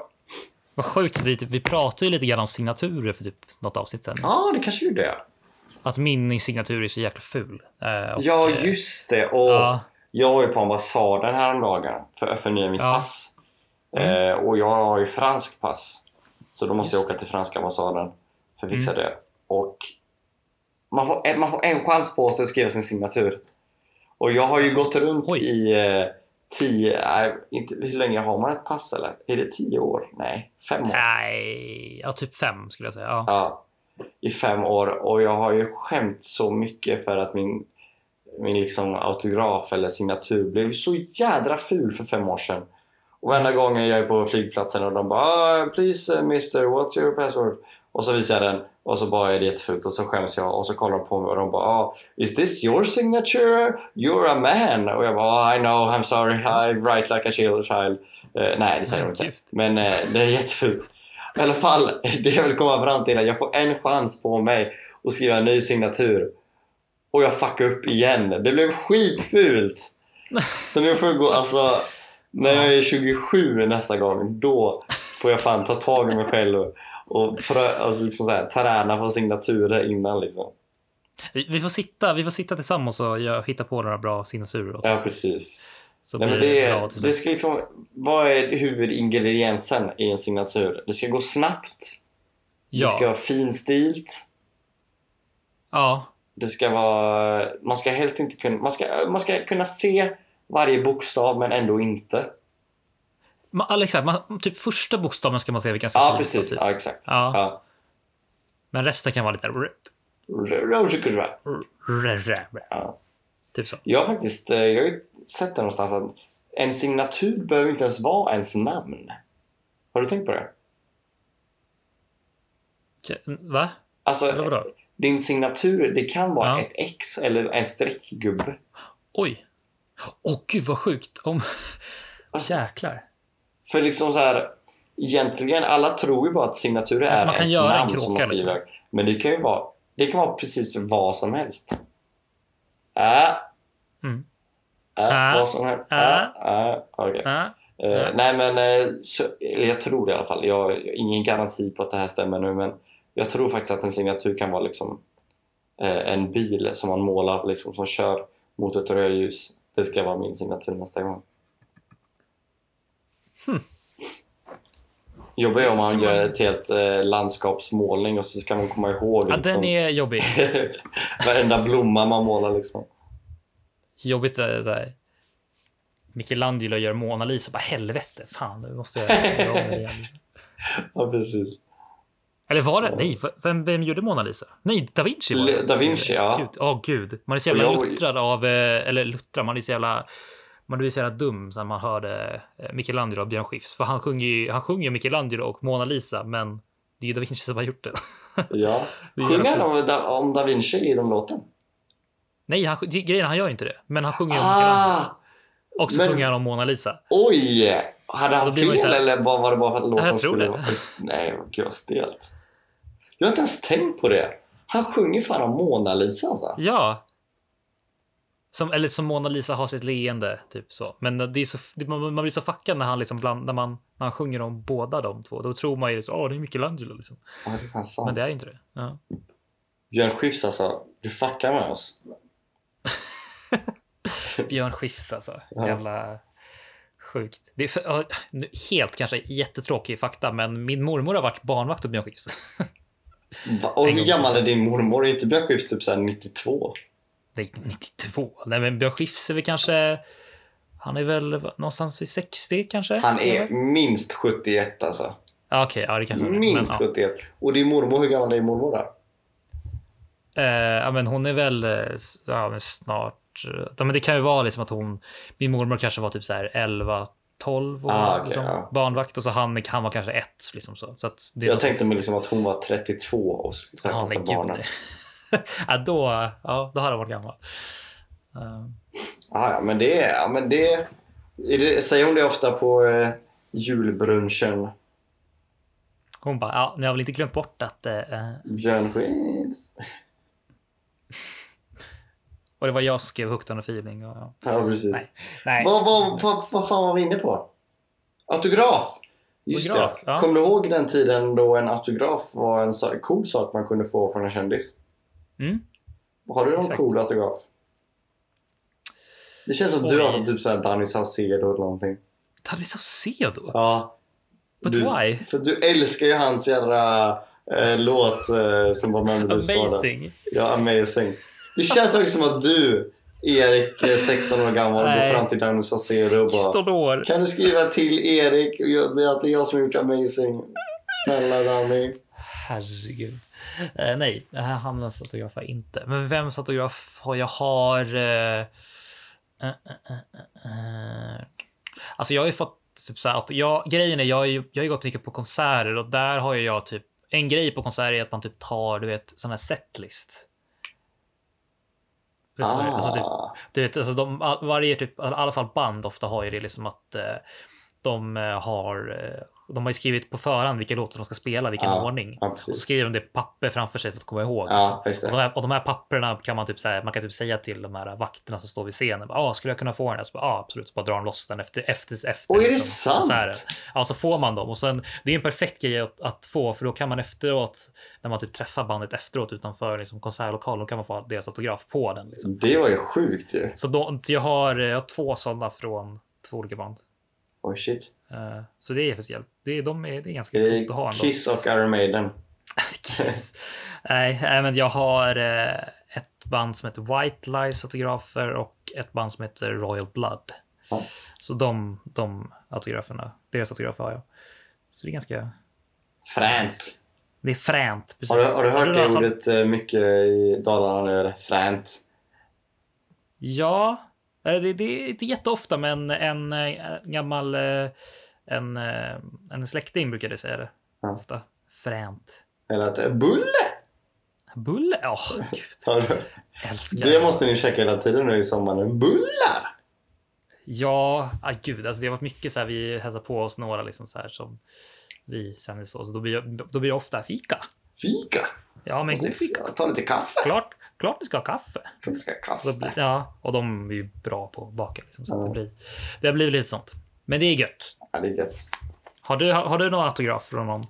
Vad sjukt. att Vi, typ, vi pratade ju lite grann om signaturer för typ något avsnitt sen.
Ja, det kanske gjorde jag.
Att min signatur är så jäkla ful. Eh, och,
Ja,
eh,
just det. Och
ja.
Jag var ju på ambassaden häromdagen för att förnya mitt
Ja. Mm.
pass. Eh, och jag har ju franskt pass. Så då måste
Just Mm.
jag åka till franska ambassaden för att fixa det. Och man får, en- man får en chans på sig att skriva sin signatur. Och jag har ju gått runt
Oj.
i eh, tio... nej, inte, hur länge har man ett pass eller? Är det tio år? Nej, fem år.
Nej, ja, typ fem skulle jag säga. Ja.
Ja, i fem år och jag har ju skämt så mycket för att min, min liksom autograf eller signatur blev så jädra ful för fem år sedan. Och varenda gång jag är på flygplatsen och de bara "Ah, “Please uh, mister, what's your password?” Och så visar jag den och så bara är det jättefult och så skäms jag och så kollar de på mig och de bara "Ah, “Is this your signature? You're a man!” Och jag bara "Ah, “I know, I'm sorry, I write like a child." child." Eh, nej, det säger de inte.
Gud.
Men eh, det är jättefult. I alla fall, det jag vill komma fram till är att jag får en chans på mig att skriva en ny signatur. Och jag fuckade upp igen. Det blev skitfult! Så nu får jag gå, alltså, när jag är 27 nästa gång, då får jag fan ta tag i mig själv och prö- alltså liksom så här, träna på signaturer innan liksom.
Vi, vi, får sitta, vi får sitta tillsammans och jag hitta på några bra signaturer. åt
Ja,
oss.
precis.
Så
Nej,
blir
men
det
det,
bra till
det
slut.
ska liksom, vad är huvudingrediensen i en signatur? Det ska gå snabbt,
ja.
det ska vara finstilt,
ja,
Det ska vara... Man ska helst inte kunna... Man ska, man ska kunna se varje bokstav men ändå inte.
man, eller exakt, man, typ första bokstaven ska man se vilken som
Ja,
är på,
precis.
typ.
Ja, exakt.
Ja.
Ja.
Men resten kan vara lite... r-
R- Roger Kudra.
r- r- r-
Ja.
Typ så.
Jag har faktiskt eh, jag har ju sett det någonstans att en signatur behöver inte ens vara ens namn. Har du tänkt på det?
Va? Eller
Alltså,
vadå?
din signatur, det kan vara
Ja.
ett X eller en streckgubbe.
Oj. Åh gud vad sjukt. Om... Jäklar.
För liksom så här, egentligen, alla tror ju bara att signaturer är
man kan
ens
göra en
namn
kråka,
som man
liksom.
skriver. Men det kan ju vara, det kan vara precis vad som helst. Äh,
Mm.
äh,
Äh,
vad som helst.
äh.
Äh, äh, okej.
Ja.
Eh,
Ja.
Nej men, eh, så, eller jag tror det i alla fall. Jag jag har ingen garanti på att det här stämmer nu men jag tror faktiskt att en signatur kan vara liksom eh, en bil som man målar liksom, som kör mot ett rödljus. Det ska vara min signatur nästa gång.
Hmm.
Jobbar ju om man gör ett helt eh, landskapsmålning och så ska man komma ihåg
Ja,
liksom,
den är jobbig.
varenda blomma man målar liksom.
Jobbigt eh, så här. Michelangelo gör Mona Lisa. Bara helvete. Fan, nu måste jag göra om det igen. liksom.
Ja, precis.
Eller var det? Nej, v- vem, vem gjorde Mona Lisa? Nej, da Vinci var det.
Le- Da Vinci, ja.
Gud, åh, gud. Man är så jävla
Och jag-
luttrad av... eh, Eller luttrad, man är så jävla... Man blir så jävla dum när man hörde eh, Michelangelo och Björn Skifs. För han sjunger ju han sjunger Michelangelo och Mona Lisa, men det är ju da Vinci som har gjort det.
Ja.
Det är
Sjunger
jävla-
han om, Da- om Da Vinci i den låten?
Nej, han, sj- det- grejen är, han gör ju inte det. Men han sjunger om Michelangelo.
Ah,
Och så
men-
sjunger han om Mona Lisa.
oj! Hade
Då
han
blir man ju
fel
så här-
eller bara, var det bara för att låten
Jag tror
skulle
det.
vara... Nej, vad gud vad stelt. Jag har inte ens tänkt på det. Han sjunger fan om Mona Lisa alltså.
Ja. Som, eller som Mona Lisa har sitt leende, typ så. Men det är så, det, man, man blir så fuckad när han liksom bland, när man, när han sjunger om båda de två. Då tror man ju liksom, åh, det är Michelangelo liksom.
Ja, det är fan sant.
Men det är ju inte det. Ja.
Björn Skifs alltså, du fuckar med oss.
Björn Skifs alltså.
Ja.
Jävla sjukt. Det är för, ja, nu- helt kanske jättetråkig fakta, men min mormor har varit barnvakt åt Björn Skifs.
Va? Och
En
hur
gång
gammal
till.
är din mormor? Är inte Björn Skifs typ såhär 92?
Nej, 92. Nej, men Björn Skifs är väl kanske. Han är väl någonstans vid 60 kanske?
Han är minst 71 alltså.
Ja, Okej, ja, det kanske han är. Men,
Minst
ja.
71. Och din mormor, hur gammal är din mormor då?
Eh, ja, men hon är väl eh, s- ja, men snart. eh, Ja, men det kan ju vara liksom att hon. Min mormor kanske var typ så här 11, 12 år,
Ah, okej,
liksom,
ja.
barnvakt och så han, han var kanske ett. Liksom, så. Så att det är
Jag
något-
tänkte mig liksom att hon var 32 och skulle
Ja,
träffa sig
men gud,
barnen.
nej. ja, då, ja, då har han varit gammal. Eh,
Ah, ja, men det, ja, men det, är det... Säger hon det ofta på eh, julbrunchen?
hon bara, ja, ni har väl inte glömt bort att... eh,
Björn Skifs?
och det var jag som skrev Hooked on a feeling. Och, ja.
Ja, precis.
Nej. Nej.
Vad, vad, vad, vad fan var vi inne på? Autograf! Just
Autograf,
det.
ja.
Kommer du ihåg den tiden då en autograf var en så, cool sak man kunde få från en kändis?
Mm.
Har du någon
Exakt.
cool autograf? Det känns som du
Oj.
har fått typ såhär Danny Saucedo eller någonting.
Tadde Saucedo?
Ja.
But
du,
why?
För du älskar ju hans jävla eh, låt eh, som var med när du sa det.
Amazing. Alltså-
Ja, amazing. Det känns faktiskt som att du, Erik, eh, 16 år gammal,
Nej.
går fram till Danny Saucedo och bara
16 år.
Kan du skriva till Erik och jag- det är att det är jag som har gjort amazing? Snälla Danny.
Herregud. Eh, nej, det här hamnens autograf har jag inte. Men vems autograf har jag? har... Eh, eh, eh, eh, eh. Alltså jag har ju fått typ så här att jag, grejen är jag har ju, jag har ju gått mycket på konserter och där har ju jag typ en grej på konserter är att man typ tar du vet sån här setlist. Vet du vad det är? Alltså typ,
Ah,
du vet, alltså de, all- varje typ, i alla fall band ofta har ju det liksom att eh, de eh, har, eh, de har ju skrivit på förhand vilka låtar de ska spela, vilken
Ja,
ordning.
ja,
Och så
precis.
skriver de det på papper framför sig för att komma ihåg.
Typ. Ja, just
liksom.
det.
och, de här, och de här papperna kan man typ, så här, man kan typ säga till de här vakterna som står vid scenen. Ja, ah, skulle jag kunna få den? här?" Så bara, ah, absolut, så bara drar de loss den efter. efter, efter liksom.
Oj, är det sant?
Så här, ja, så får man dem. Och sen, det är en perfekt grej att, att få, för då kan man efteråt, när man typ träffar bandet efteråt utanför liksom, konsertlokalen, då kan man få deras autograf på den. Liksom.
Det var ju sjukt ju.
Så då, jag, har, eh, jag har två sådana från två olika band.
Oj shit.
Eh, Så det är speciellt. Det, är- de är, det är ganska
Är
coolt
det
att ha ändå.
Kiss och Iron Maiden?
Kiss. Nej, nej, men jag har eh, ett band som heter White Lies autografer och ett band som heter Royal Blood.
Ja.
Så de, de autograferna, deras autografer har jag. Så det är ganska...
Fränt.
Det är fränt. Precis.
Har du, har du hört det
någon-
ordet eh, mycket i Dalarna nu? eller? Fränt.
Ja, eh, det, det är inte jätteofta, men en eh, gammal eh, en, eh, en släkting brukade säga det.
Ja.
Ofta. Fränt.
Eller att eh, bulle!
Bulle? Ja, gud.
Har du-
Älskar
Det måste ni käka hela tiden nu i sommar. nu. Bullar!
Ja, ah, gud, alltså det har varit mycket så här. Vi hälsar på oss några liksom så här som vi känner så. så då, blir, jag- då blir det ofta fika.
Fika!
Ja, men
Och så
god fika.
Ta lite kaffe.
Klart, klart vi ska ha kaffe.
Jag ska ha
Och, då blir,
kaffe.
ja, och de är ju bra på att baka. Liksom, så att det,
Ja.
blir, det blir lite sånt. Men det är gött.
Ja, det är gött.
Har du, har, har du någon autograf från någon?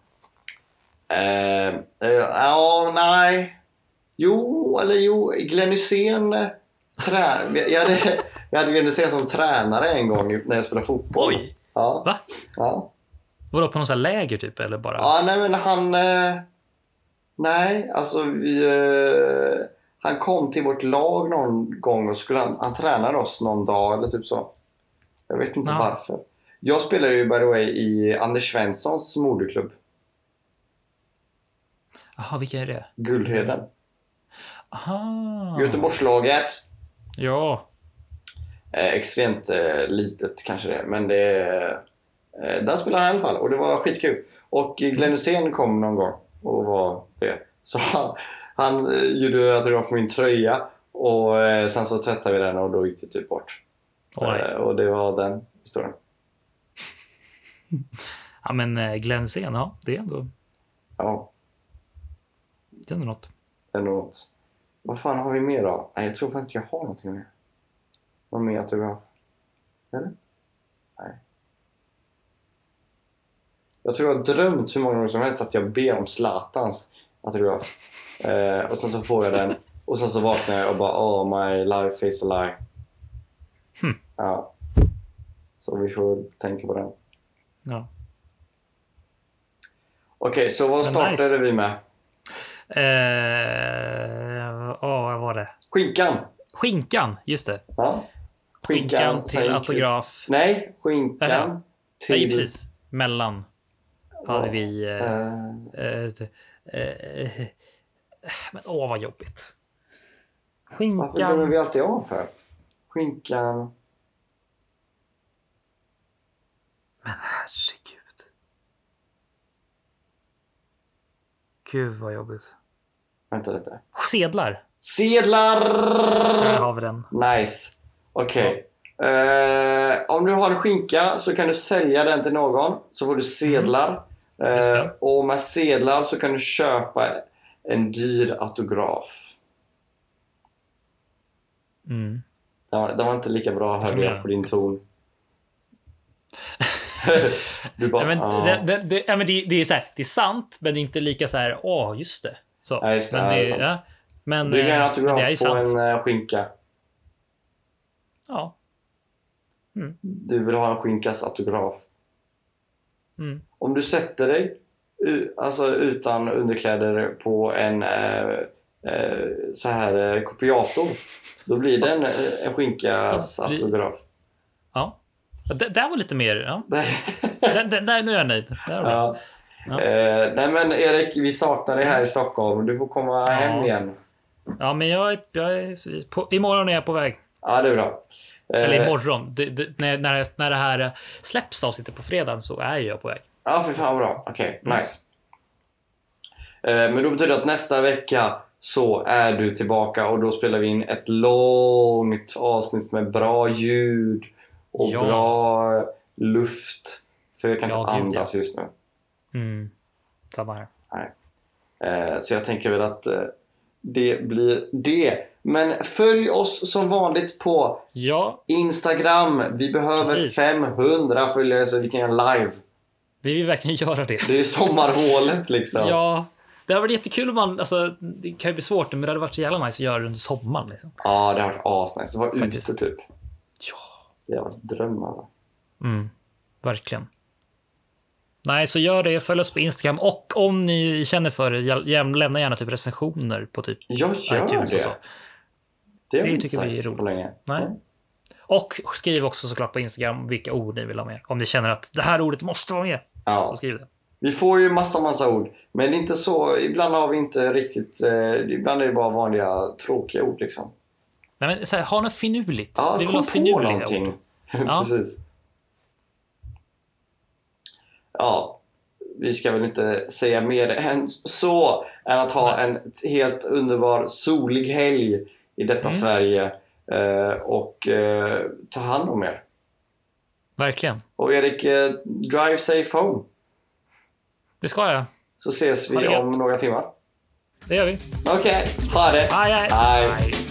Eh, eh, Ja, nej. Jo, eller jo. Glenn Hysén. eh, Trä... Jag hade, jag hade Glenn Hysén som tränare en gång när jag spelade fotboll.
Oj!
Ja.
Va?
Ja.
Vadå, på någon sån här läger typ? Eller bara?
ja, nej men han... eh, Nej, alltså vi... eh, Han kom till vårt lag någon gång och skulle han, han tränade oss någon dag eller typ så. Jag vet inte
Ja.
varför. Jag spelade ju by the way i Anders Svenssons moderklubb,
Jaha, vilka är det?
Guldheden.
Aha.
Göteborgslaget.
Ja.
Eh, extremt eh, litet kanske det är, men det... Eh, där spelade han i alla fall och det var skitkul. Och Glenn Hysén kom någon gång och var det. Så han, han eh, gjorde att det var på min tröja och eh, sen så tvättade vi den och då gick det typ bort.
Oj.
Eh, och det var den historien.
Ja, men eh, Glenn Hysén, ja, det är ändå,
Ja,
det är ändå något.
det är nog något. Vad fan har vi mer då? Nej, jag tror fan inte jag har någonting mer. Någon mer autograf? Eller? Nej. Jag tror jag har drömt hur många gånger som helst att jag ber om Zlatans autograf. Eh, och sen så får jag den. Och sen så vaknar jag och bara oh my life is a lie.
Hmm.
Ja. Så vi får väl tänka på den.
Ja.
Okej, så vad
Men
startade
nice.
vi med?
Eh, ja, vad var det?
Skinkan!
Skinkan, just det.
Ja. sen
Skinkan, till
gick vi-
autograf.
Nej, skinkan
Jaha.
till...
Nej, precis. Mellan hade
Ja.
vi... Eh,
Eh,
eh, eh, eh, men åh, vad jobbigt.
varför
Skinkan.
glömmer vi alltid av för? Skinkan...
Men herregud. Gud vad jobbigt.
Vänta lite.
Sedlar. Där
Sedlar!
har vi den.
Nice. Okej. Eh, om du har en skinka så kan du sälja den till någon. Så får du sedlar.
Mm. Just
Eh,
det.
och med sedlar så kan du köpa en dyr autograf.
Mm.
Den var, den var inte lika bra hörde jag
menar.
på din ton. du bara...
Nej, men,
"Ah."
det, det, det, ja, men det, det, är så här, det är sant, men det är inte lika så här. Åh, just det. Så.
Ja, just det.
men
Ja, det är sant.
men,
Du kan göra en
eh, men
autograf
det är ju
på
sant.
en eh, skinka.
Ja.
Du vill ha en skinkas autograf.
Mm.
Om du sätter dig u- alltså utan underkläder på en eh, eh, så här eh, kopiator. Då blir det en, eh, en skinkas
Då blir-
autograf.
ja. Ja, Det där var lite mer... Ja. Den, den, där, nu är jag nöjd. Där var
ja.
Ja.
Eh, nej men Erik, vi saknar dig här i Stockholm. Du får komma
Ja.
hem igen.
jag. ja, men jag, är- jag är på, imorgon är jag på väg.
Ja, det är bra. Eh,
Eller imorgon. Det, det, när, när, när det här eh, släpps avsnittet på fredagen så är jag på väg.
Ja, för fan vad bra. Okej,
Mm.
nice. Eh, men då betyder det att nästa vecka så är du tillbaka och då spelar vi in ett långt avsnitt med bra ljud och
Ja.
bra luft. För jag kan
Ja,
inte
gud, ja.
andas just nu.
Mm. Samma här.
Eh, så jag tänker väl att eh, det blir det. Men följ oss som vanligt på
Ja,
Instagram. Vi behöver
Precis.
500 följare så vi kan göra live.
vi vill verkligen göra det.
Det är sommarhålet liksom.
Ja. Det hade varit jättekul om man... Alltså, det kan ju bli svårt, men det hade varit så jävla nice att göra det under sommaren. Liksom.
Ja, det har varit asnice. Vara
Faktiskt.
ute typ.
Ja.
Det har varit drömmar.
Mm. Verkligen. Nej, så gör det. Följ oss på Instagram. Och om ni känner för det, jäl- jäm- lämna gärna typ recensioner på typ
Jag gör
iTunes
det.
och så.
Det har
Det
jag inte
tycker vi är
sagt på
roligt.
länge. Mm.
Nej. Och skriv också såklart på Instagram vilka ord ni vill ha med. Om ni känner att det här ordet måste vara med, så
Ja.
skriv det.
Vi får ju massa, massa ord. Men det är inte så. Ibland har vi inte riktigt... Eh, ibland är det bara vanliga tråkiga ord liksom.
Nej, men, så här, ha något finurligt.
Ja,
Vi vill
kom
ha
på
finurliga
någonting.
ord. Ja.
Precis. Ja. Vi ska väl inte säga mer än så. Än att ha en helt underbar solig helg i detta
Mm.
Sverige. Eh, och eh, ta hand om er.
Verkligen.
Och Erik, eh, drive safe home.
Det ska jag.
Så ses
Ha det
vi
gött.
om några timmar.
Det gör vi.
Okej, ha det!
Hej, hej.
Hej.
hej.